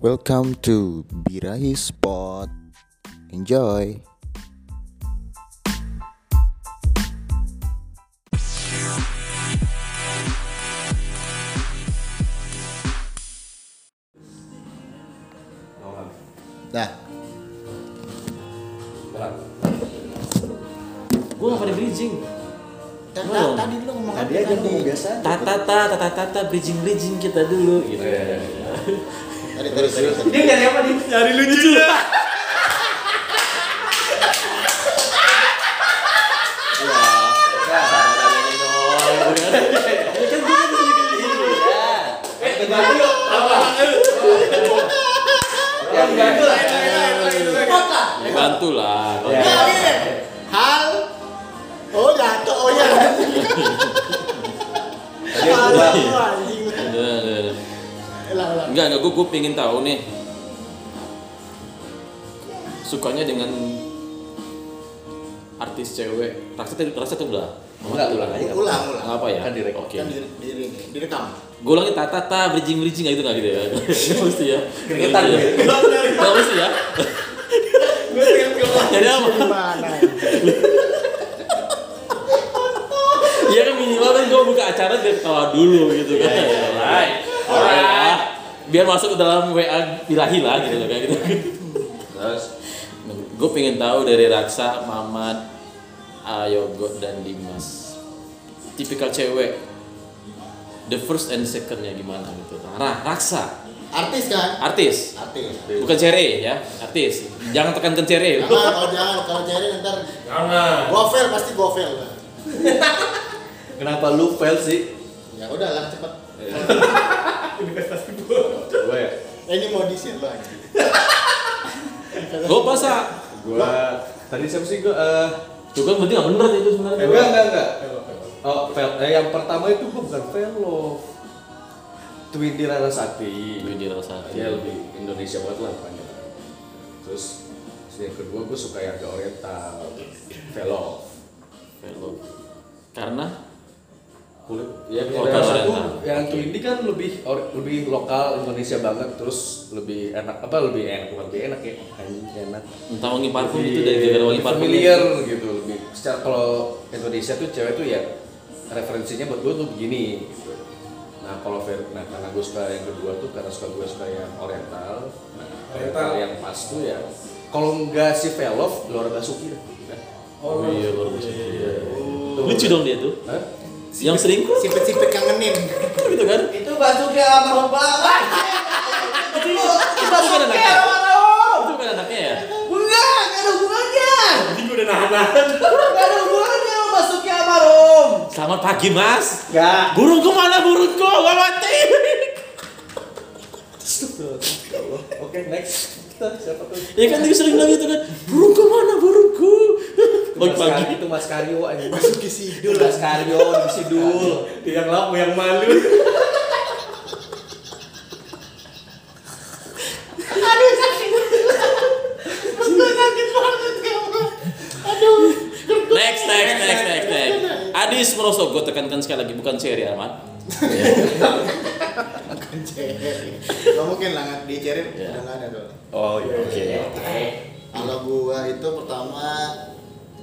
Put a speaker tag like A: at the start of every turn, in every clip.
A: Welcome to Birahi Spot. Enjoy. Dah.
B: Gue gak pada bridging.
A: Tadi, tadi lu ngomong apa tadi?
B: Tata tata tata tata bridging bridging kita dulu gitu.
A: Tadi tadi tadi. tadi.
B: Dia nyari apa nih? Nyari lucu. Bantu lah.
A: Hal. Oh, dah tuh oh ya. Hal, lu anjing.
B: Udah, udah, udah.
A: Elah, elah.
B: Enggak, enggak, gue, gue pengen tahu nih Sukanya dengan artis cewek Raksa tadi, Raksa tuh udah
C: Enggak, ulang aja.
A: Ulang, ulang.
B: Apa ya?
C: Kan direk-
B: Oke
A: Kan di, di, di, direkam.
B: Gue ulangi tata, tata, bridging, bridging gitu nggak gitu ya? Nggak mesti ya?
C: Keringetan
B: Nggak mesti ya? Nggak mesti ya? Jadi apa?
A: Gimana?
B: Iya kan minimal kan gue buka acara dari ketawa dulu gitu kan Alright Alright Ah, Biar masuk ke dalam WA birahi lah gitu loh kayak gitu
C: Terus
B: Gue pengen tahu dari Raksa, Mamat, Ayogo, dan Dimas Tipikal cewek The first and secondnya gimana gitu Nah, Raksa,
A: Artis kan?
B: artis
A: Artis.
B: Bukan cere ya, artis Jangan tekankan cere
A: Jangan kalau jangan kalau cari ntar
D: Jangan.
A: gua fail pasti gua fail.
C: kenapa lu fail sih?
A: Ya udahlah cepet.
C: Gue
A: Eh, ini mau disir lo aja.
B: Gue pasa
C: gue tadi siapa sih gue eh
B: Tuh kan berarti gak bener itu sebenarnya
C: enggak enggak enggak. Oh, fail. Eh, yang pertama itu gue bukan fail lo. Twindy Rara Sakti.
B: Itu dia Iya. Raksa
C: Dia iya, lebih Indonesia banget lah pokoknya. Terus terus yang kedua gue suka yang agak oriental. Velo.
B: Velo. Karena
C: Kulit ya
B: Oh,
C: yang yang satu
B: oriental.
C: yang Twindy kan lebih or- lebih lokal Indonesia banget terus lebih enak apa lebih enak bukan lebih enak ya anjing enak
B: entah wangi parfum
C: Lebih
B: itu dari gara-gara wangi parfum.
C: Iya, familiar gitu lebih secara kalau Indonesia tuh cewek tuh ya referensinya buat gue tuh begini gitu. nah kalau Ver- nah karena gue suka yang kedua tuh karena suka gue suka yang oriental nah, oriental yang pas tuh ya kalau nggak si Velov luar Basuki gitu kan. dah.
B: Oh iya, baru masuk.
C: Tuh.
B: Lucu dong dia tuh.
C: Hah?
B: Yang selingkuh
A: Sipet-sipet kangenin.
B: gitu kan? Ah,
D: Itu basuki almarhum bapak.
B: Itu bukan anaknya. Itu bukan anaknya ya?
D: Enggak, enggak ada hubungannya.
B: Ini udah nahan-nahan.
D: Enggak ada hubungannya sama basuki almarhum.
B: Selamat pagi, Mas.
D: Enggak.
B: Burungku mana burungku? Gak mati.
C: Ya oke next kita siapa tuh
B: Ya kan dia sering bilang gitu kan. Burungku mana burungku? Pagi-pagi.
C: itu Mas Karyo aja
A: Masuki sidul.
C: Mas Karyo di Sidul
D: Yang laku yang malu. Aduh sakit. Gue sakit banget kamu.
B: Next, next, next, next, next. Adis Meroso, gue tekankan sekali lagi bukan seri aman.
A: Bukan ceri. Gak mungkin lah nggak dicerin
B: Ya.
A: udah nggak ada tuh.
C: oh iya oke
A: Kalau gua itu pertama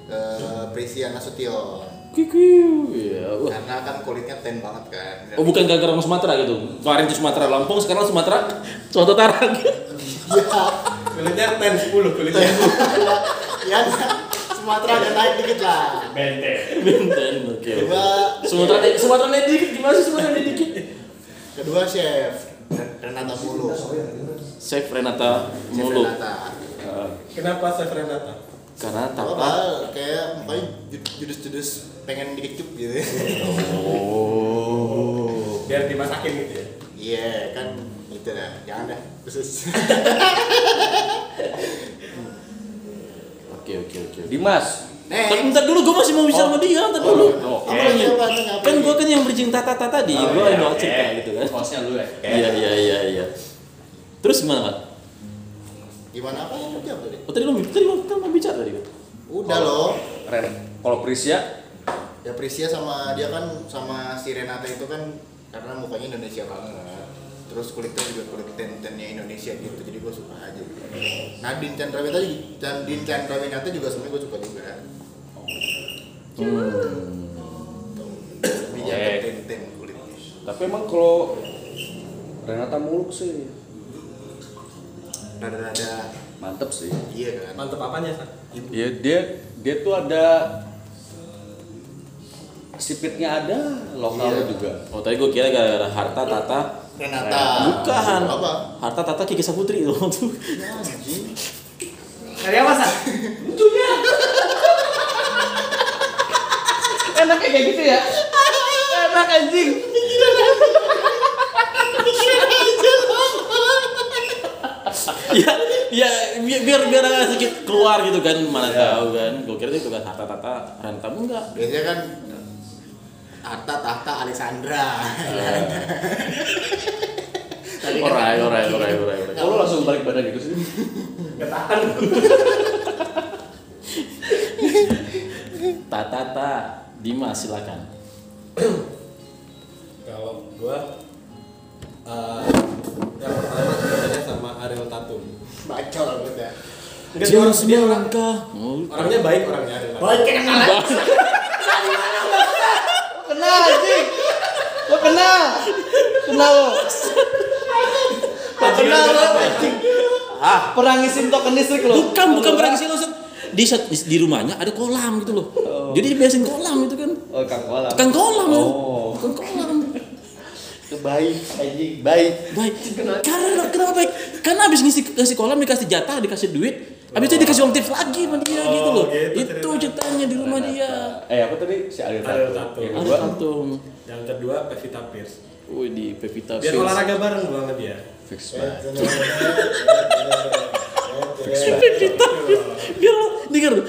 A: eh Prisia Nasution.
B: Kikiu. Ya, wah.
A: Karena kan kulitnya ten banget kan.
B: Oh bukan gara-gara orang Sumatera gitu. Kemarin itu Sumatera Lampung, sekarang Sumatera Sumatera Tarang.
D: Kulitnya 10 10 kulitnya.
A: Ya, Sumatera ada naik dikit lah.
D: Benteng.
B: Benten, oke.
A: Kedua,
B: Sumatera Sumatera naik dikit gimana sih Sumatera naik dikit?
A: kedua chef Renata Mulu. Chef
B: Chef Renata Mulu
A: Renata.
D: Kenapa saya Renata?
B: karena tata.
A: Gua bakal kayak mukanya jud- judes-judes pengen dicup gitu.
C: oh
D: Biar dimasakin gitu ya.
A: Iya kan itu dah, jangan dah khusus.
B: Oke oke oke.
C: Dimas
B: Bentar, bentar dulu gue masih mau bicara sama dia, bentar dulu.
C: oke.
B: Apa lagi?
A: Apa lagi?
B: Kan gue kan yang berjing tata tata tadi,
C: Oh,
B: gue
C: iya,
B: yang bawa
C: oke.
B: cerita gitu kan.
C: Hostnya lu ya?
B: Iya iya iya iya. Terus gimana Pak?
A: Gimana apa yang kerja tadi?
B: Oh, tadi lu tadi lu kan mau bicara tadi kan?
A: Udah loh.
C: Ren, kalau Prisya
A: Ya Prisia sama dia kan sama si Renata itu kan karena mukanya Indonesia banget. terus kulitnya juga kulit ten-tennya Indonesia gitu jadi gue suka aja gitu. Nadine Chandrawinata Nadine Chandrawinata juga sebenarnya gue suka juga tapi jangan
B: Hmm. Oke.
A: ten-ten kulitnya
C: Tapi emang kalau Renata Muluk sih
A: rada-rada
C: mantep sih.
A: iya kan
E: Mantep apanya, San?
C: Iya dia dia tuh ada sipitnya ada, lokalnya
A: Iya.
C: juga.
B: Oh tadi gue kira gara-gara harta tata
A: Renata
B: bukan
A: Nah, apa
B: harta tata Kiki Saputri itu tuh
A: ya, anjing.
E: Dari apa, San? Lucunya. Enaknya kayak gitu ya? Enak anjing.
B: ya ya bi- biar biar agak sedikit keluar gitu kan mana
C: Ya.
B: tahu kan gue kira itu kan harta tata rentam enggak
A: biasanya kan Arta Tahta Alexandra Tadi kan-
B: Orai, orai, orai, orai, orai.
C: Kalau langsung balik badan gitu sih.
E: Ketahan.
B: Tata tata Dimas silakan
E: Kalau gua eh, yang pertama sebenarnya sama Ariel Tatum.
A: bacol gitu ya
E: Enggak dia orang dia orang-
B: melangkah
E: orangnya baik orangnya Ariel Tatum.
A: baik kenal
E: Kenal anjing. Lo kenal. Kenal lo.
A: kenal
B: ah
E: Pernah ngisim token listrik lo.
B: bukan bukan berarti sih di, set- di di rumahnya ada kolam gitu loh jadi biasin kolam itu kan
E: Oh, Kang Kolam.
B: bukan kolam ya
E: Oh.
B: bukan kolam
A: baik anjing baik
B: baik karena kenapa baik karena abis ngisi kasih kolam dikasih jatah dikasih duit abis itu dikasih uang tips lagi sama dia
E: Oh,
B: gitu loh
E: gitu
B: itu
E: ceritanya.
B: ceritanya di rumah dia
C: Eh apa tadi si Ariel
E: Ariel
C: Tatum. Yang
E: Tatum.
B: ada
C: kedua
B: kantung
E: Yang kedua Pevita Pierce.
B: wih di Pevita
E: Biar
B: Fields.
E: olahraga bareng gua sama dia.
C: fix banget.
B: Pevita Fields. biar denger tuh.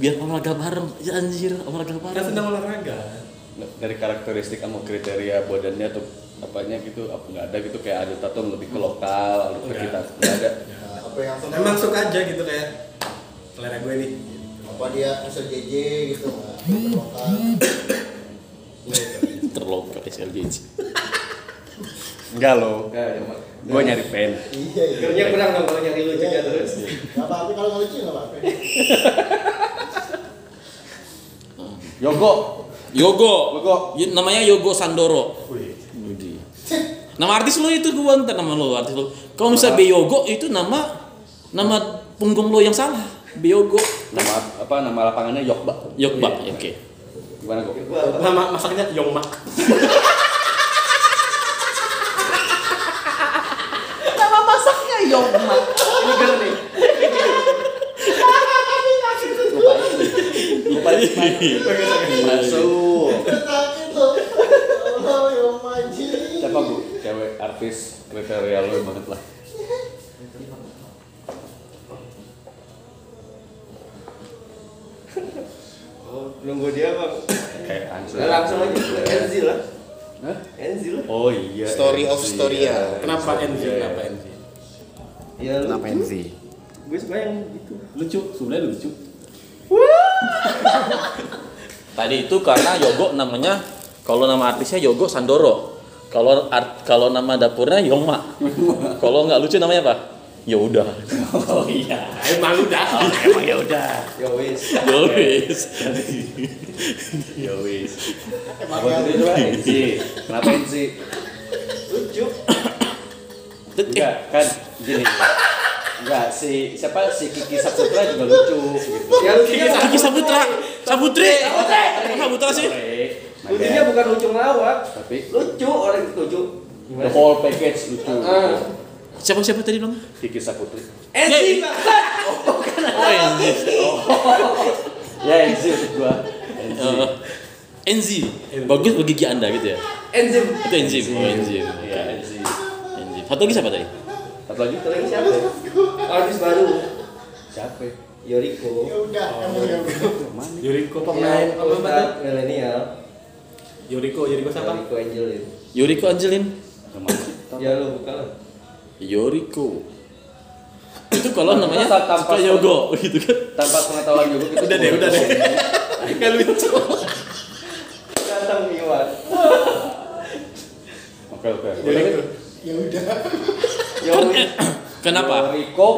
B: biar olahraga bareng ya anjir olahraga
E: Kita
B: bareng
E: sedang olahraga.
C: dari karakteristik sama kriteria badannya atau apanya gitu apa nggak ada gitu kayak ada tatum lebih ke lokal atau
E: Nggak.
C: kita nggak ada
A: apa yang senang
E: Emang suka aja gitu kayak selera gue nih.
A: apa dia Mr. JJ gitu nggak? Lokal.
B: terlokal SLGJ
C: enggak ya, loh gue nyari pen
A: iya iya
E: Gernya kurang dong kalau nyari lu juga terus.
A: nggak apa-apa kalau nggak lucu nggak apa-apa
C: yogo
B: Yogo
C: Yogo.
B: Y- namanya Yogo Sandoro
E: Wih.
B: Budi. Nama artis lo itu gua ntar nama lo artis lo. Kalau misalnya Beyogo itu nama nama punggung lo yang salah. Beyogo.
C: nama apa nama lapangannya yokba
B: Yokbak, oke.
C: gimana kok
E: Nama masaknya Yongmak. Nama masaknya Yongmak. Ini girl nih.
C: masuk
A: sakit loh Allah ya maji
C: siapa bu cewek artis kriteria lo banget lah
E: Nunggu dia bang.
C: kayak Ansel
E: Udah langsung aja. Enzi lah.
C: Hah?
E: Enzi lah.
C: oh iya
A: Story of
C: Enzi,
A: Storia.
C: iya.
B: Kenapa NG?
C: Iya.
B: Kenapa NG?
E: Ya lu.
A: pensi
E: Gue suka yang gitu.
B: Lucu, sebenarnya lucu. Tadi itu karena Yogo namanya kalau nama artisnya Yogo Sandoro. Kalau art, kalau nama dapurnya Yongma. Kalau nggak lucu namanya apa? Ya udah. Oh iya.
E: Emang udah.
B: Emang ya udah.
E: Ya wis.
B: Ya wis.
C: ya wis
A: emang
C: apa tadi coba Enzi kenapa Enzi
E: Lucu.
C: Enggak, kan gini. Enggak, si siapa si Kiki Saputra juga lucu gitu.
E: Ya lucunya
B: Eh, Kiki Saputra, Saputri.
E: Saputri.
B: Kok Saputra sih?
C: Baik.
E: Lucunya bukan lucu ngelawak.
C: Tapi
E: Lucu orang itu lucu.
C: the whole package lucu.
E: Ah.
B: Siapa siapa tadi dong?
C: Kiki Saputri.
E: Enzi lah.
B: oh,
C: Ya Enzi maksud gua. Enzi.
B: Enzi. Eh, Bagus bagi gigi Anda gitu ya.
E: Enzi.
B: Itu Enzi. Oh, Enzi.
C: Iya, Enzi.
B: Enzi. Satu lagi siapa tadi?
C: Satu lagi
E: Itu lagi siapa? ya? Artis baru.
C: siapa?
A: ya
E: Yoriko.
A: udah emang ya udah
E: Yoriko
F: pemain-
C: Iya,
E: apa namanya?
F: milenial
E: Yoriko, Yoriko siapa?
F: Rico Angelin
B: Yoriko Angelin.
C: Nama
F: ya lu buka lah
B: Yoriko. Itu kalau namanya
C: Tanpa- tanpa-
B: suka Yogo gitu kan.
C: tanpa pengetahuan juga kita
B: Udah deh, udah deh. Enggak lucu.
F: ganteng Iwan
C: Oke, oke.
E: Yoriko.
A: ya udah
G: Yori.
B: Kan, eh, Kenapa?
G: Yoriko.
C: Oh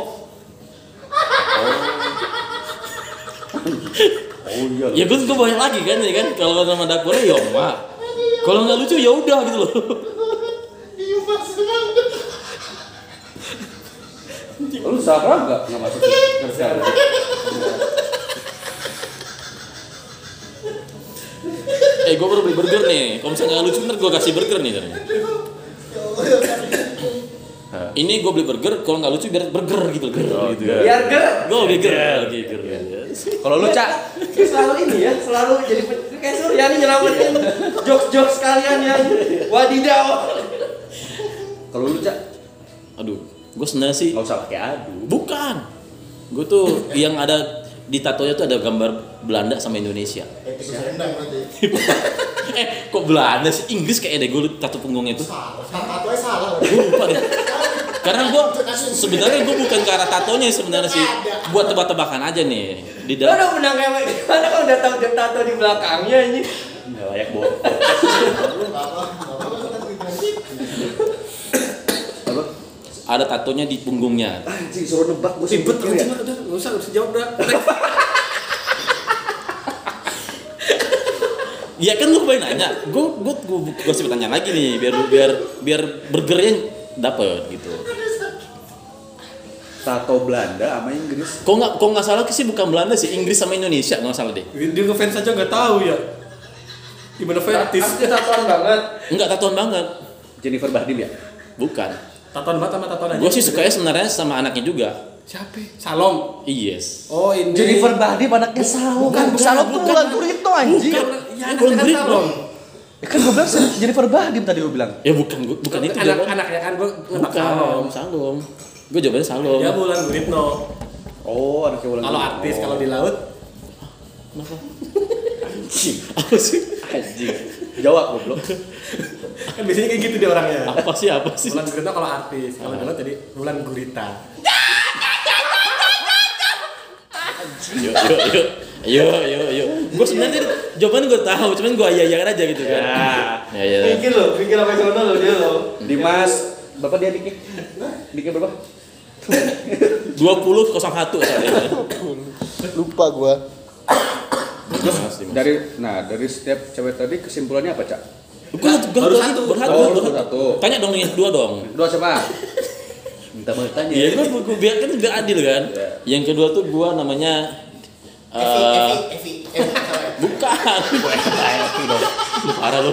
C: iya.
B: Ya gue gue banyak lagi kan ya kan. Kalau nama dapurnya ya Ma. Kalau nggak lucu ya udah gitu loh.
A: iya mas banget
G: Lu sabar enggak enggak masuk kerja?
B: Eh gue baru beli burger nih. Kalau misalnya nggak lucu ntar gue kasih burger nih ntar.
A: ya Allah ya Allah.
B: Ini gue beli burger. Kalau nggak lucu biar burger gitu ger
C: Oh,
B: gitu.
C: iya.
G: Biar ke
B: Gue beli ger gitu.
C: Kalau lu cak,
G: Dia selalu ini ya, selalu jadi pe- kayak Suryani
C: Iya.
G: nyelamatin jokes-jokes kalian yang wadidaw.
C: kalau lu cak,
B: Aduh, gue sebenarnya sih
C: nggak usah pakai adu.
B: bukan. Gue tuh yang ada di tatonya tuh ada gambar Belanda sama Indonesia.
A: episode rendang nanti
B: eh kok Belanda sih Inggris kayaknya deh gue tato punggungnya tuh.
A: salah tatonya salah
B: Gue lupa deh. Karena gue sebenarnya gue bukan ke arah tatonya sebenarnya sih. Buat tebak-tebakan aja nih. Di
G: Lo udah
B: dalam
G: menang kayak gimana kalau udah tahu dia tato di belakangnya ini?
C: Nggak layak bawa.
A: Gak apa apa kita cerita aja.
C: Apa?
B: ada tatonya di punggungnya.
C: Anjing suruh nebak Iya. gue
E: Ribet anjing udah nggak usah nggak usah jawab dah. Next.
B: Ya kan lu pengen nanya. Gue gue gue gue sih tanya lagi nih biar biar biar burgernya dapet gitu.
C: Tato Belanda sama Inggris.
B: Kok nggak kok nggak salah sih bukan Belanda sih Inggris sama Indonesia nggak salah deh.
E: Dia ngefans aja nggak tahu ya. Gimana
G: Pasti
E: fanatis?
G: tatoan banget.
B: Enggak tatoan banget.
C: Jennifer Bahdim ya?
B: Bukan.
E: Tatoan banget sama tatoan aja.
B: Gue sih sukanya sebenarnya sama anaknya juga.
E: Siapa? Salom.
B: Yes.
E: Oh ini.
C: Bahdim anaknya Salom.
E: Bukan, bukan,
C: Salom
E: bukan.
C: tuh lagu Rito anjing.
E: Bukan. Ya,
B: Bukan
E: anak-anak
B: Brit,
E: Salom.
C: Ya kan gue bilang Jennifer Bahdim tadi lu bilang.
B: Ya bukan gua- bukan itu
E: anak
B: jawaban.
E: anaknya kan gue ngetak
B: Bukan
E: Salom. Ya.
B: Salom. Gue jawabannya Salom.
E: Dia bulan Guritno.
C: Oh, anaknya ulang.
E: Kalau artis kalau di laut
B: Kenapa? Apa sih?
C: anjing. Jawab goblok.
E: kan biasanya kayak gitu dia orangnya.
B: Apa sih? Apa sih?
E: Bulan Gurita kalau artis, kalau di laut jadi Bulan Gurita.
B: Yo yo yo. Yo yo yo. Gue sebenarnya jawaban gue tahu, cuman gue ayah-ayakan aja gitu kan. Ya ya.
G: Pikir lo, pikir sampai sono lo dia lo.
C: Dimas, bapak dia dikit. Dikit berapa?
B: 2001 soalnya.
A: lupa gua
B: Dimas, Dimas.
C: Dari nah dari setiap cewek tadi kesimpulannya apa cak?
B: Gua gua baru
E: Baru satu.
B: satu, baru satu,
C: Oh,
B: baru
C: baru
B: satu.
C: satu.
B: Tanya dong yang kedua dong.
C: Dua siapa? Minta banget tanya.
B: Iya, gua gua biar kan biar adil kan.
C: Iya.
B: Yang kedua tuh gua namanya
A: Evi
B: eh
A: Evi Evi salah.
B: bukan. Parah lu.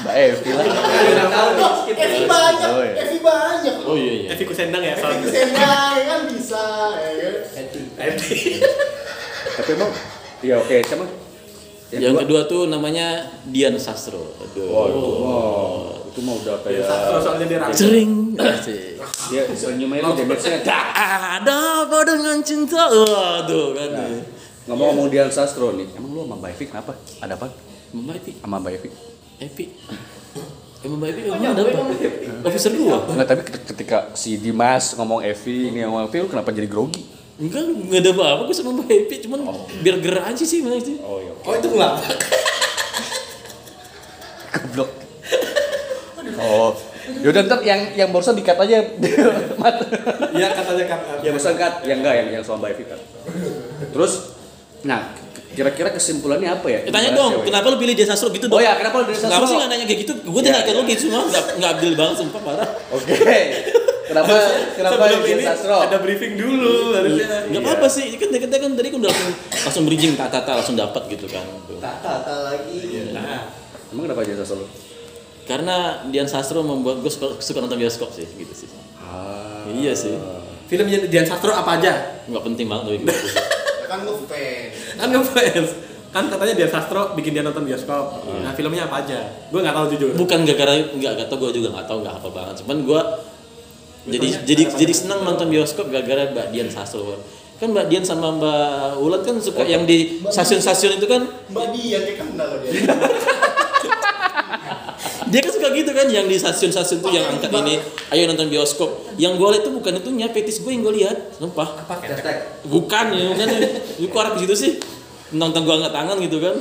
C: Mbak Evi lah.
G: Udah tahu
A: Oh,
G: skip.
A: Evi banyak
C: Oh, iya.
A: Evi banyak
B: Oh iya iya.
E: Evi Kusendang ya,
A: Evi
E: soalnya.
A: kesendang kan bisa ya kan?
E: Evi.
C: Tapi emang, ya oke siapa?
B: Yang kedua tuh namanya Dian Sastro. Aduh.
C: Oh, itu, oh, itu mah udah kayak
E: Satu soalnya dia rakyat.
B: Sering. Asik.
C: ya senyumnya itu damage-nya.
B: Tak ada apa dengan cinta. Aduh kan.
C: Nah, Ngomong-ngomong Dian Sastro nih, emang lu sama Mbak Evi kenapa? Ada apa?
B: Mbak Epi,
C: Sama Mbak Evi?
B: Epi. Emang Mbak Epi emang ada apa? Officer gua?
C: Enggak, tapi ket- ketika si Dimas ngomong Evi, ini ngomong Evi, lu kenapa jadi grogi?
B: Enggak, enggak ada apa-apa gua sama Mbak Epi, cuman biar gerah aja sih Mbak Epi.
C: Oh iya,
E: Oh itu ngelak.
C: goblok. Oh, yaudah ntar yang yang barusan dikat aja, Mat.
E: Iya katanya kan.
C: ya barusan kat, yang enggak, yang yang sama Mbak Evi kan. Terus, nah kira-kira kesimpulannya apa ya?
B: Eh, tanya dong,
C: Cewek.
B: kenapa lu pilih dia Sastro gitu dong?
C: Oh ya, kenapa lu dari
B: Kenapa sih
C: Sastro?
B: nggak nanya kayak gitu? Gue
C: Ya,
B: tanya ke
C: ya.
B: lu gitu semua nggak nggak adil banget sumpah parah.
C: Oke. Kenapa kenapa
E: Sebelum
C: Dian
E: ini
C: Sastro?
E: ada briefing dulu harusnya.
B: Nggak apa-apa sih, kan kita kan tadi kan udah langsung langsung bridging tata tata langsung dapat gitu kan.
G: Tata lagi.
E: Nah,
C: Emang kenapa Dian Sastro?
B: Karena Dian Sastro membuat gue suka, suka nonton bioskop sih gitu sih.
C: Ah.
B: Iya sih,
E: filmnya Dian Sastro apa aja?
B: nggak penting banget tapi gitu.
A: Ya kan lu fans
E: Kan ngefans. Kan katanya Dian Sastro bikin dia nonton bioskop. Nah filmnya apa aja? Gue nggak tahu jujur.
B: Bukan gak gara nggak gak tau gue juga nggak tau nggak apa banget. Cuman gue jadi
E: Betulnya,
B: jadi
E: ada
B: jadi
E: pandangan.
B: senang nonton bioskop gara-gara Mbak Dian Sastro. Kan Mbak Dian sama Mbak Ulat kan suka
E: Eh,
B: yang di stasiun-stasiun itu kan
A: Mbak Dian kayak kenal loh dia
B: Iya. dia kan suka gitu kan yang di stasiun-stasiun tuh yang angkat ini ayo nonton bioskop yang gue lihat tuh bukan itunya petis gue yang gue lihat sumpah
G: Apa ketek?
B: bukan ya kan lu kok arah ke situ sih tentang tentang gue angkat tangan gitu kan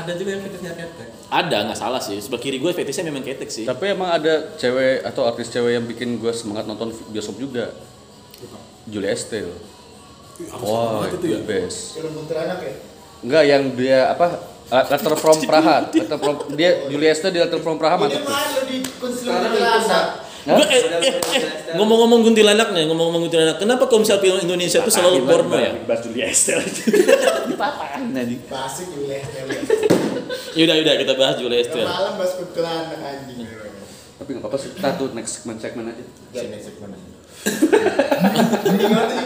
E: ada juga yang fetishnya ketek.
B: Ada nggak salah sih. Sebelah kiri gue fetishnya memang ketek sih.
C: Tapi emang ada cewek atau artis cewek yang bikin gue semangat nonton bioskop juga. Julia Estelle. Wah, itu
E: banget itu ya.
C: the best.
A: Film Kuntilanak ya?
C: Enggak yang dia apa? Letter from Praha. Letter from dia Julia Estelle di Letter from Praha
A: Ini
C: mantep tuh.
A: mah lo di Kuntilanak.
H: Sekarang itu
A: Kuntilanak.
C: Hah?
B: Gua- eh, eh, eh, ngomong-ngomong kuntilanak nih, ngomong-ngomong kuntilanak. Kenapa komsel film Indonesia itu selalu porno ya?
C: Bahas Julia Estelle. Dipapaan nanti.
A: Basik juga ya.
B: Yaudah, yaudah kita bahas Julia
A: Yang
B: Estelle.
A: malam bahas Kuntilanak anjing.
B: Iya.
C: Tapi nggak apa-apa sih. Kita tuh next segmen segmen aja.
A: Sini segmen. Ini ngerti?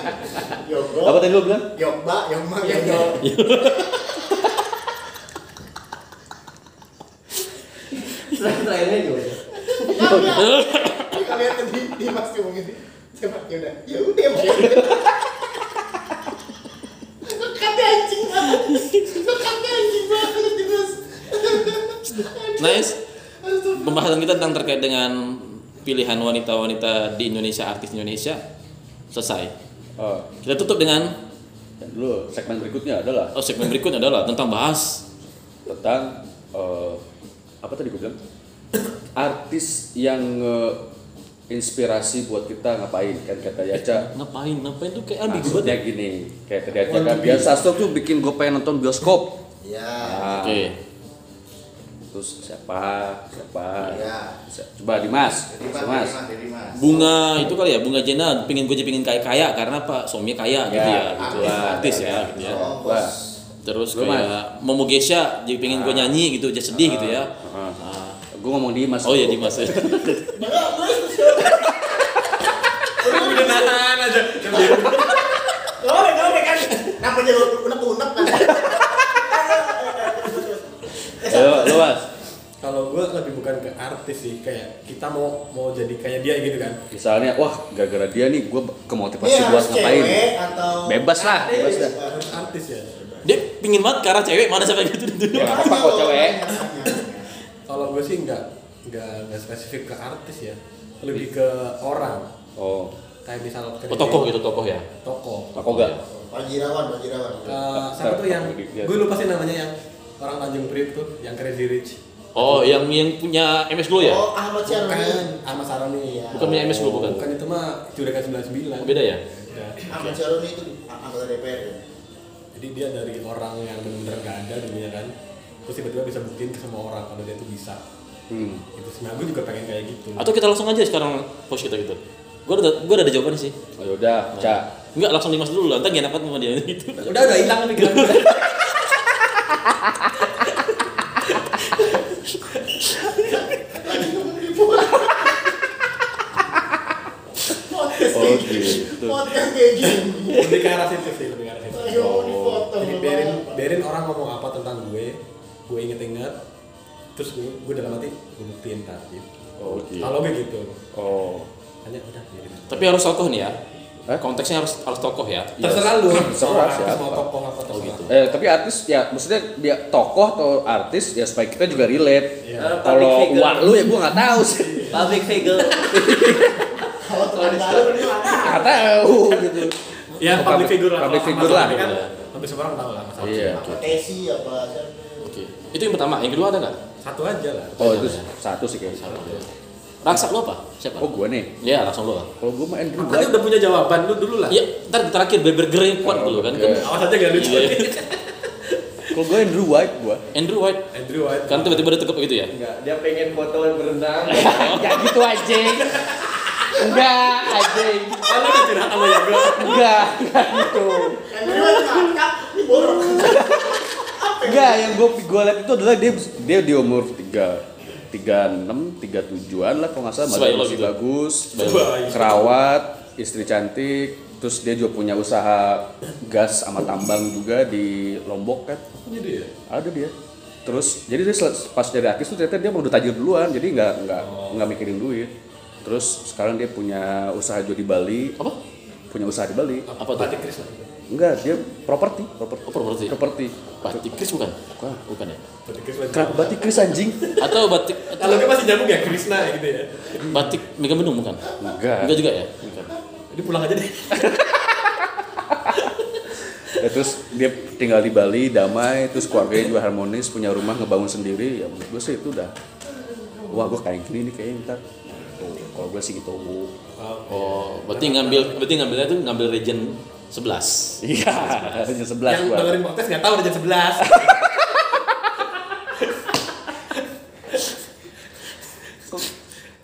A: Yogo.
C: Apa tadi lo bilang?
A: Yogba, Yogma, Yogo.
H: Setelah terakhirnya gimana?
A: Ini Kalian tadi di mas ngomong gitu. Coba yaudah. Ya udah. Kan anjing banget. Kan anjing banget terus.
B: Nice.
A: Aduh.
B: Pembahasan kita tentang terkait dengan pilihan wanita-wanita di Indonesia, artis Indonesia selesai.
C: Oh,
B: Kita tutup dengan
C: dan dulu segmen berikutnya adalah
B: oh, segmen berikutnya adalah tentang bahas
C: tentang eh, apa tadi gue bilang? Artis yang eh, inspirasi buat kita ngapain kan kata Yaca
B: ngapain ngapain tuh kayak adik gue
C: Maksudnya gini, kayak tadi
B: Oh,
C: aja kan biasa Sastro tuh bikin gue pengen nonton bioskop.
A: Ya.
C: Nah,
B: Ah, Oke.
C: Terus siapa? Siapa?
A: Ya.
C: Si- Coba Dimas.
A: Jadi mas,
C: Dimas.
A: jadi mas.
B: Bunga itu kali ya, bunga jena pengen gue jadi pengen kaya kaya karena apa suaminya kaya gitu ya,
C: Ya,
B: gitu
A: artis,
B: ya, artis ya,
C: artis.
B: gitu ya.
A: Oh,
C: Wah.
A: bos.
B: Terus
C: Lu, Mas?
B: kayak Momo Gesha jadi pengen gue nyanyi gitu, jadi sedih gitu ya. Ah.
C: Gue ngomong Dimas.
B: Oh ya
C: dulu.
B: Dimas.
E: Udah nahan aja.
A: Goreng, goreng kan. Namanya unek-unek kan.
C: Ayo, lu Mas.
E: Kalau gue lebih bukan ke artis sih, kayak kita mau mau jadi kayak dia gitu kan.
C: Misalnya, wah gara-gara dia nih gue kemotivasi
A: Ini
C: buat
A: harus
C: ngapain.
A: Iya, cewek atau Nah,
C: Bebas lah, bebas dah.
E: Harus artis ya.
B: Dia pingin banget karena cewek mana sampai gitu dulu.
C: Ya, apa kok cewek?
E: Kalau gue sih nggak nggak nggak spesifik ke artis ya, lebih ke orang.
C: Oh,
E: Kayak misal
B: Oh, tokoh gitu tokoh ya.
E: Tokoh.
C: aku gak?
A: Pak Jirawan, Pak Jirawan.
C: Iya.
E: Eh, siapa tuh yang gue lupa sih namanya yang orang Tanjung Priok tuh yang Crazy Rich
B: Oh yang yang punya MS Glow ya?
A: Oh, Ahmad Syaroni.
E: bukan Ahmad Saroni
B: Bukan punya MS Glow bukan?
E: ya. bukan itu mah curagan 99
B: Beda ya?
E: Ya.
A: Ahmad Syaroni itu anggota DPR ya.
E: jadi dia dari orang yang benar-benar gak ada dulunya kan terus tiba-tiba bisa buktiin ke semua orang kalau dia tuh bisa
C: Hmm.
E: itu sebenarnya gue juga pengen kayak gitu
B: Atau kita langsung aja sekarang post kita gitu. Gue udah gue udah ada jawaban sih.
C: Oh, yaudah, Ca.
B: Enggak langsung Dimas dulu lah, entar gak dapat sama dia gitu.
E: udah udah hilang nih pikiran gue.
A: Podcast
C: Oh,
A: kayak
C: gitu.
A: gini. Podcast kayak gini.
E: lebih ke arah situ sih lebih ke arah situ
A: Ayo dipoto.
E: jadi biarin biarin orang ngomong apa tentang gue gue inget-inget terus gue, gue dalam hati gue buktiin ntar gitu
C: Oh, iya.
E: kalau gue gitu
C: Oh.
E: hanya udah biarin
B: Tapi harus tokoh nih ya.
C: Hah?
B: Konteksnya harus harus tokoh ya.
E: terserah lu
C: Iya. Terserah
E: mau artis,
C: siapa.
E: mau tokoh apa terserah
B: gitu.
C: Eh, tapi artis ya maksudnya dia tokoh atau artis ya supaya kita juga relate.
E: Iya.
H: Eh, public
C: Kalau
H: figure.
C: uang lu ya gue nggak tahu sih.
H: Public figure.
A: Kalau terlalu dalam ini mana?
C: Nggak tahu gitu.
E: ya
C: Public-
E: public figure lah
C: public
E: Kalau
C: figure
E: Mas
C: lah.
E: Ari kan hampir semua orang tahu lah mas Ari.
C: Iya.
A: Apa Tesi apa siapa?
B: Oke. Itu yang pertama, yang kedua ada nggak?
E: satu aja lah
C: Oh itu satu sih kayaknya.
B: Raksa lu apa? Siapa?
C: Oh gue nih.
B: Iya, langsung lu lah.
C: Kalau gue main dulu
E: Tadi Kan udah punya jawaban lu dulu lah
B: Iya, ntar terakhir Beber Grey kuat dulu kan.
C: Oh, Oke.
E: awas aja gak lucu
B: Iya, iya.
C: Kalau gue Andrew White gue.
B: Andrew White
E: Andrew White
B: kan tiba-tiba ditekuk gitu ya.
H: Enggak, dia pengen fotoan berenang.
C: ya gitu aja. Enggak aja.
E: kan lu udah curhat sama Yogo
C: Enggak. Enggak gitu.
A: Yang kedua Kan cakap, ini borok. Apa ya?
C: Enggak yang gue gue lihat itu adalah dia dia di umur tiga tiga enam tiga tujuan lah kalau nggak salah
B: Sesuai
C: badan
B: lo
C: masih
B: gitu.
C: bagus
B: Sesuai
E: lo.
C: kerawat istri cantik terus dia juga punya usaha gas sama tambang juga di lombok kan
E: jadi ya
C: ada dia terus jadi dia sel- pas jadi artis tuh ternyata dia mau udah tajir duluan jadi nggak nggak nggak mikirin duit terus sekarang dia punya usaha juga di Bali
B: Apa?
C: punya usaha di Bali
B: Apa tuh?
E: Patrick Chris lah
C: enggak dia properti properti
B: Oh, properti.
C: properti
B: Batik Kris bukan? Bukan. ya.
E: Patrick Chris lagi
C: Kerak batik Kris anjing
B: Atau batik
E: kalau gue masih jamu ya Krisna gitu ya
B: batik Mega Benung bukan?
C: enggak
B: Enggak juga ya? Bukan.
E: jadi pulang aja deh
C: Ya, terus dia tinggal di Bali damai terus keluarganya juga harmonis punya rumah ngebangun sendiri ya menurut gue sih itu udah wah gue kayak gini nih kayaknya ntar Tuh, kalau gue sih gitu Bu.
B: Oh, berarti ngambil berarti ngambilnya tuh ngambil region 11.
C: iya hanya sebelas
E: yang
C: gue
E: dengerin podcast nggak tahu udah jam 11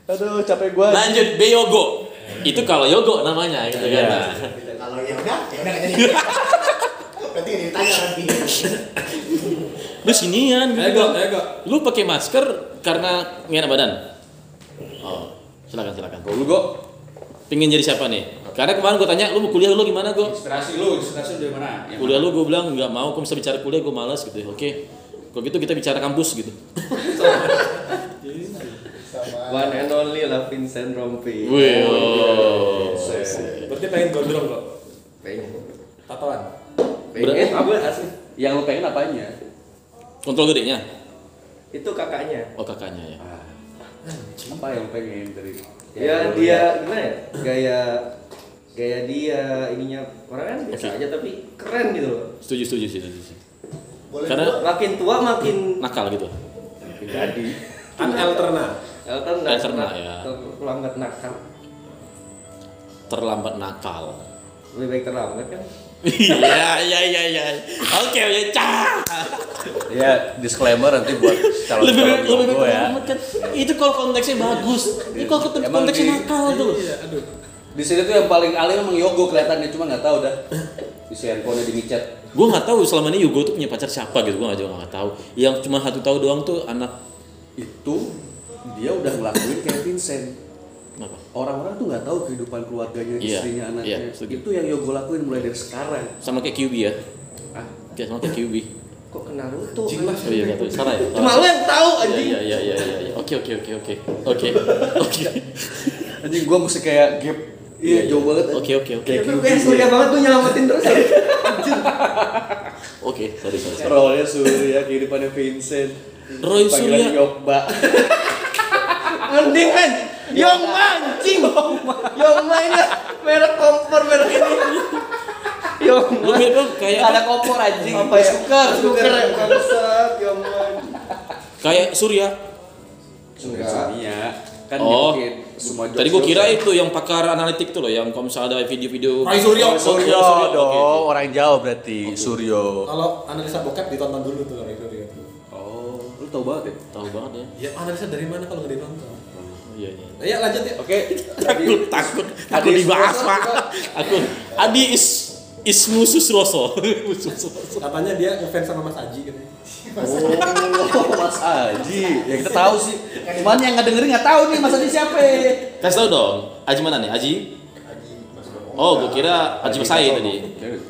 C: aduh capek gue
B: Lanjut B Yogo. Itu kalau Yogo namanya gitu kan.
C: Iya.
B: Nah,
A: Kalau ya udah, ya udah kayaknya. Berarti nggak ditanya nanti.
B: Lu sinian gitu.
E: ayo go
B: Bang.
E: ayo go
B: Lu pakai masker karena ngenak badan. Oh, silakan silakan.
C: lu gue
B: Pengen jadi siapa nih? Karena kemarin gue tanya, lu mau kuliah lu gimana gue?
I: Inspirasi lu, inspirasi lu dari mana? Yang
B: Kuliah lu gue bilang nggak mau, kok bisa bicara kuliah gue malas gitu. ya. Oke, kalau gitu kita bicara kampus gitu.
H: One and only lah Vincent Rompi.
B: Wih,
H: iya,
B: iya,
E: berarti pengen gondrong kok
H: Pengen.
E: tatoan
H: Pengen Eh, apa asli?
C: yang lu pengen apanya
B: kontrol gedenya.
H: Itu kakaknya.
B: Oh kakaknya ya.
C: apa yang lu pengen dari
H: Ya
C: dari-
H: dia gimana ya? Gaya gaya dia ininya orang kan biasa
B: Oke.
H: aja tapi keren gitu loh.
B: Setuju setuju sih, setuju. setuju.
A: Boleh
B: Karena-
A: juga.
H: Makin tua makin
B: Nakal gitu.
C: jadi
E: kan alterna
H: Elton
B: Eh, ternak
H: Nah,
B: ya.
H: terlambat nakal.
B: Terlambat nakal.
H: Lebih baik terlambat kan?
B: Iya iya iya iya. Oke ya cah.
C: ya disclaimer nanti buat calon
B: Lebih
C: calon
B: lebih
C: gue ya
B: baik kan. Itu kalau konteksnya bagus. Ini kalau kont-
C: Emang
B: konteksnya
C: di-
B: nakal tuh.
E: aduh
C: di sini tuh yang paling alim emang Yogo kelihatannya cuma nggak tahu dah di handphone di micet
B: Gue nggak tahu selama ini Yugo tuh punya pacar siapa gitu. Gue juga nggak tahu. Yang cuma satu tahu doang tuh anak
C: itu dia udah ngelakuin kayak Vincent
B: apa?
C: orang-orang tuh nggak tahu kehidupan keluarganya
B: Iya,
C: istrinya anaknya
B: iya, setuju.
C: itu yang Yogo lakuin mulai dari sekarang
B: Sama kayak QB ya.
H: Ah.
B: Kayak sama kayak QB.
H: Kok kenal lu tuh?
B: Oh iya nggak tahu. Salah ya.
H: Cuma lu yang tahu anjing.
B: Iya iya iya iya. iya. Oke oke oke oke oke oke
C: anjing gua mesti kayak gap iya jauh banget
B: oke oke oke Iya.
H: Tapi gue yang surya banget tuh nyelamatin terus. ya.
B: oke sorry sorry. sorry.
C: Role-nya Surya, kehidupannya Vincent
B: Roy
C: Panggilan
B: Surya.
C: Yokba
H: Mending kan yang mancing. Yang mainnya merek kompor merek ini. Yang
B: Lu mirip lu kayak
C: ada kompor anjing
H: apa ya? Suker, suker ya. Bangsat, yang mancing.
B: kayak Surya.
C: Surya Surya kan
B: Oh.
C: bikin semua jokes
B: Tadi gue kira itu yang pakar analitik tuh loh, yang kalau misalnya ada video-video.
E: Roy
B: Oh,
E: Suryo.
C: Surya
B: Suryo, oke,
C: dong,
B: oke.
C: orang Jawa berarti Suryo
E: kalau analisa bokep ditonton dulu tuh gitu, Roy Suryo tuh
C: Oh, lu tau banget ya?
B: Tahu banget ya.
E: ya analisa dari mana kalau nggak ditonton
B: Iya iya.
E: Nah, ya lanjut ya
C: Oke,
B: Takut takut takut dibahas pak. Aku Adi is Ismu Susroso. Susroso.
E: katanya dia ngefans sama Mas Aji gitu
C: Oh, Mas Aji, ya kita tahu sih. Cuman Kan yang nggak dengerin nggak tahu nih Mas Aji siapa.
B: Kasih tau dong, Aji mana nih? Aji?
A: Haji Mas Romo.
B: Oh, gue kira Aji
C: Aji
B: Masai
C: Kasono.
B: tadi.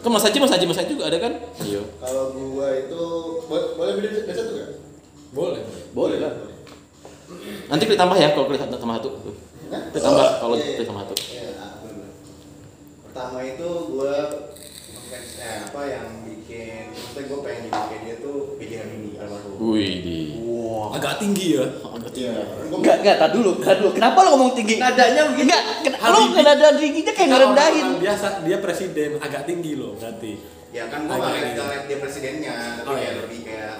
B: Kan Mas Aji, Mas Aji, Mas Aji juga ada kan? Iya.
A: Kalau gua itu bo- boleh beli dari satu nggak?
E: boleh
C: Boleh lah.
B: Nanti klik tambah ya, kalau klik tambah satu.
A: Hah?
B: Klik tambah, kalau
A: Iya, iya.
B: klik tambah satu.
A: Iya, ah, bener. Pertama itu gua ngefans eh, apa yang bikin maksudnya gua pengen dibikin dia tuh pikiran ini almarhum.
B: Wih di.
C: Wow.
E: agak tinggi ya
A: Iya. Gua-
C: Enggak, enggak, tak dulu, tak dulu. Kenapa lo ngomong tinggi?
H: Nadanya begini.
C: Enggak, ken- lo nada tingginya kayak ngerendahin.
E: Orang-orang biasa dia presiden agak tinggi loh berarti
A: Ya kan gua
E: Agak
A: nggak
E: tinggi.
A: ngeliat dia presidennya, tapi
E: Oh, iya.
A: kayak lebih kayak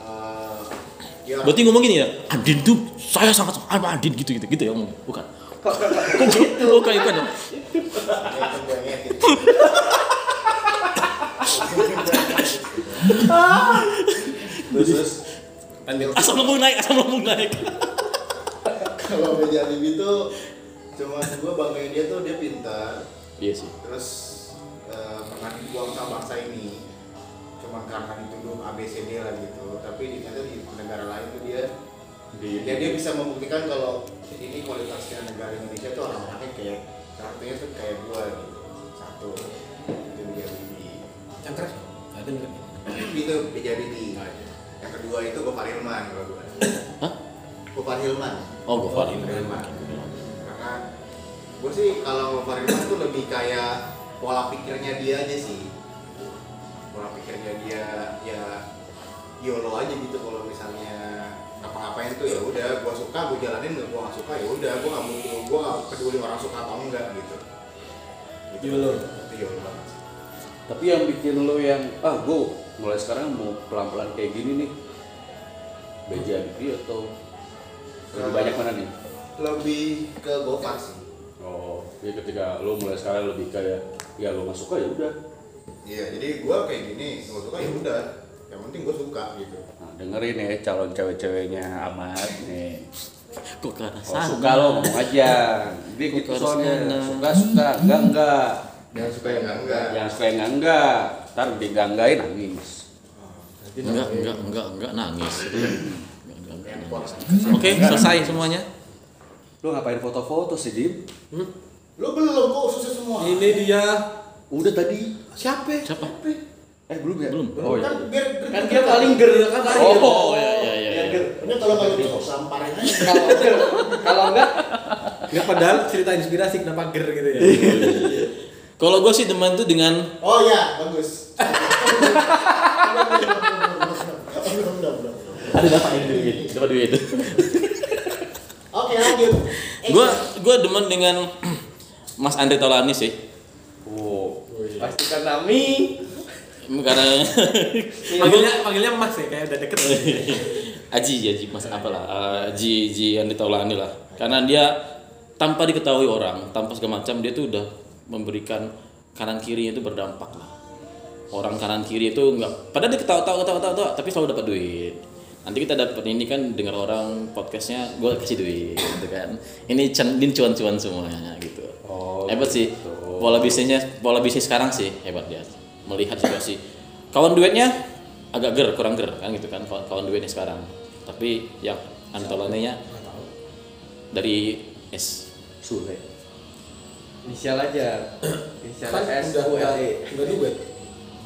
A: eh, dia orang-
B: Berarti ngomong gini ya, Adin tuh saya sangat sama Adin gitu gitu gitu ya ngomong. Bukan.
H: Kok kok-
B: Bukan bukan. dong.
A: dia tuh gua ngeliatin.
C: Terus
A: Tandil.
B: Asam lambung naik, asam lambung naik.
A: Kalau Beja Habibie tuh cuma gua banggain dia tuh dia pintar,
B: Iya sih.
A: terus eh, pernah dibuang sama bangsa ini cuma karena dituduh ABCD lah gitu tapi ternyata di negara lain tuh dia ya dia bisa membuktikan kalau ini kualitasnya negara Indonesia tuh orang-orangnya kayak karakternya tuh kayak gua gitu satu itu dia Bibi
E: cangkrek ada nggak
A: itu Bija Bibi yang kedua itu Gopar Hilman kalau gua
B: Hah?
A: Gopar Hilman
B: Oh, gue
A: Gopar Hilman karena gua sih kalau Gopar Hilman tuh lebih kayak pola pikirnya dia aja sih pola pikirnya dia ya YOLO aja gitu kalau misalnya apa-apain tuh ya udah gua suka gua jalanin nggak gua nggak suka ya udah gua nggak mau gua nggak peduli orang suka atau enggak gitu
E: YOLO.
A: itu YOLO banget sih.
C: Tapi yang bikin lo yang ah gue mulai sekarang mau pelan-pelan kayak gini nih. BJ Habibie atau lebih
A: Eh,
C: banyak mana nih?
A: lebih ke Gofar sih
C: Oh, ya ketika lo mulai sekarang lebih kayak ya lo masuk aja udah.
A: iya jadi gue kayak gini gue suka ya udah yang penting gue suka gitu
C: Nah, dengerin ya calon cewek-ceweknya amat nih.
B: Kok ke arah
C: Kalau
B: sana?
C: Oh, suka lo ngomong aja. Dia gitu
B: Harus
C: soalnya
B: enak.
C: suka suka enggak enggak.
A: yang suka yang enggak enggak
C: Yang suka yang enggak enggak. Ntar diganggain nangis.
B: Enggak, enggak, enggak, enggak nangis. Enggak, enggak, enggak
A: Handphone.
B: nangis. Oke, selesai semuanya.
C: Lo ngapain foto-foto sih Jim?
A: lu belum kok ususnya semua
E: Ini dia.
C: Udah tadi.
A: siapa
B: Siapa?
C: Eh belum ya?
B: Belum.
C: Oh iya.
A: kan biar
H: Kan dia paling ger kan paling ger.
B: Oh,
E: iya,
B: ya, ya, ya,
H: Biar
B: ya.
H: ger.
A: ini kalau kalau cocok samparin aja
H: Kalau ger, kalau enggak
E: Enggak padahal cerita inspirasi kenapa ger gitu ya.
B: Kalau gue sih demen tuh dengan
A: oh ya bagus Belum, belum, belum, belum.
B: ada dapat duit, dapat duit.
A: oke lanjut
B: Gue gue demen dengan Mas Andre Taulani sih.
C: Oh.
H: pastikan Nami.
B: Karena
E: Panggilnya panggilnya Mas ya kayak udah deket.
B: Aji, Aji Mas apalah, eh, Aji, Aji Andre Taulani lah. Karena dia tanpa diketahui orang, tanpa segala macam dia tuh udah memberikan kanan kirinya itu berdampak lah. Orang kanan kiri itu nggak, padahal dia ketawa ketawa ketawa ketawa, tapi selalu dapat duit. Nanti kita dapat ini kan dengar orang podcastnya, gue kasih duit, gitu kan. Ini cen, ini cuan-cuan semuanya gitu.
C: Oh,
B: hebat sih.
C: gitu.
B: Pola bisnisnya, pola bisnis sekarang sih hebat dia. Melihat situasi. Kawan duetnya agak ger, kurang ger kan gitu kan kawan, kawan duetnya sekarang. Tapi yang antolanenya dari S.
C: Sulit.
H: Inisial aja. Inisial
E: Kan
H: S
E: udah
H: U R E.
E: udah duet.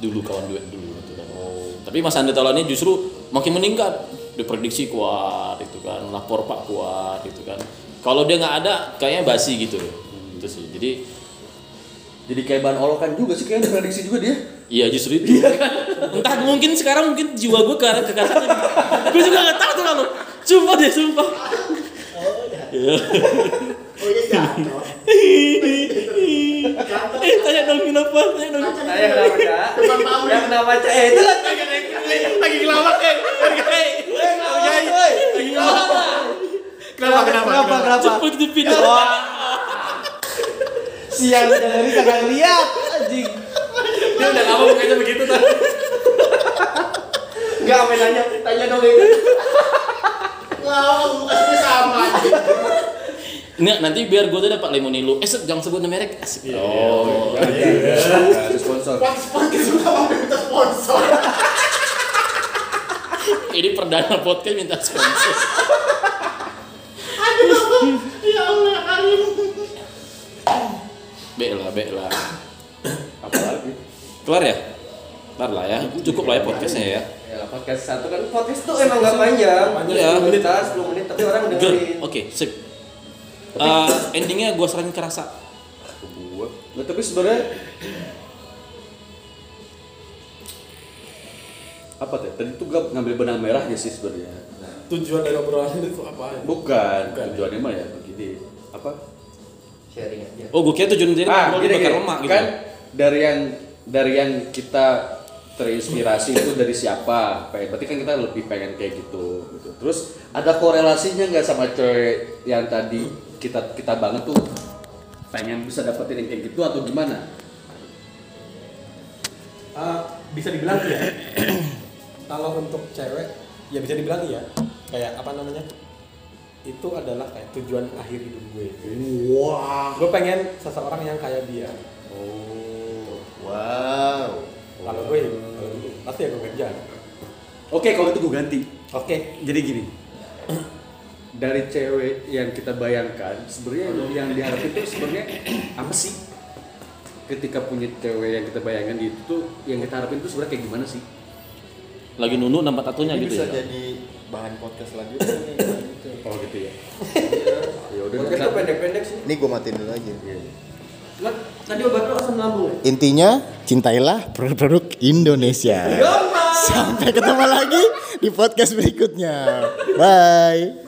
B: dulu kawan duet dulu gitu kan.
C: Oh.
B: Tapi Mas Andre Taulani justru makin meningkat, diprediksi kuat itu kan, lapor Pak kuat gitu kan. Kalau dia nggak ada kayaknya basi gitu.
C: Hmm.
B: Itu sih. Jadi
C: Jadi kayak bahan olokan juga sih kayaknya prediksi juga dia.
B: Iya justru itu. Entah mungkin sekarang mungkin jiwa gue ke arah ke kasarnya. gue juga nggak tahu tuh kalau. Sumpah deh sumpah.
A: oh ya oh ya jatuh jatuh
B: eh tanya dong kenapa? Tanya dong.
H: Saya kenapa enggak?
A: Bukan pamri.
H: Yang nama C eh, itu lah
B: Lagi ngelawak eh.
H: Kenapa kenapa kenapa kenapa?
B: Cepet di video.
H: Siang dari kagak lihat anjing.
E: Dia udah lama mukanya begitu tuh.
H: Enggak main tanya, tanya dong itu.
A: Lawan mukanya sama aja.
B: Nggak, nanti biar gue tuh dapat lemonilo. Eh set, jangan sebut merek. Asik. Oh.
C: Kasih sponsor.
A: Podcast suka mau minta sponsor.
B: Ini perdana podcast minta sponsor.
A: Aduh, ya Allah Karim.
B: Baik lah, baik lah.
C: Apalagi?
B: Kelar ya? Kelar lah ya. Cukup lah ya podcastnya ya.
H: Ya podcast satu kan podcast tuh emang enggak panjang.
B: Iya.
H: 10 menit, ah, 10 menit tapi orang
B: Girl.
H: dengerin.
B: Oke, sip. Eh, endingnya gue serahin kerasa.
C: Buat. Nah, tapi sebenarnya apa teh? Tadi tuh gak ngambil benang merahnya sih sebenarnya.
E: Tujuan dari obrolan itu apa?
C: Bukan. Tujuannya mah ya begini. Apa?
H: Sharing aja.
B: Oh, gue kira tujuan dia
C: ah,
B: ngobrol
C: gini,
B: bakar
C: gini.
B: lemak gitu.
C: kan dari yang dari yang kita terinspirasi itu dari siapa Kayak- berarti kan kita lebih pengen kayak gitu gitu terus ada korelasinya nggak sama cewek yang tadi kita kita banget tuh pengen bisa dapetin yang kayak gitu atau gimana
E: Ah, bisa dibilang
C: iya.
E: ya kalau untuk cewek ya bisa dibilang iya kayak apa namanya itu adalah kayak tujuan akhir hidup gue
A: Wow.
E: gue pengen seseorang yang kayak dia
A: Wow.
E: kalau gue kalau gue, pasti ya gue kerja
C: oke kalau itu gue ganti
E: oke
C: jadi gini dari cewek yang kita bayangkan sebenarnya yang- yang diharapin itu sebenarnya apa sih ketika punya cewek yang kita bayangkan itu tuh yang kita harapin itu sebenarnya kayak gimana sih
B: Lagi nunu nampak tatonya
J: Ini
B: gitu
J: bisa
B: ya.
J: jadi bahan podcast lagi nih.
C: Oh gitu ya. ya udah
H: Podcast tuh pendek-pendek sih.
J: Ini gue matiin dulu aja.
H: Iya, Lah, tadi obat lu asam lambung. ya?
J: Intinya cintailah produk Indonesia.
H: Gampang.
J: Sampai ketemu lagi di podcast berikutnya. Bye.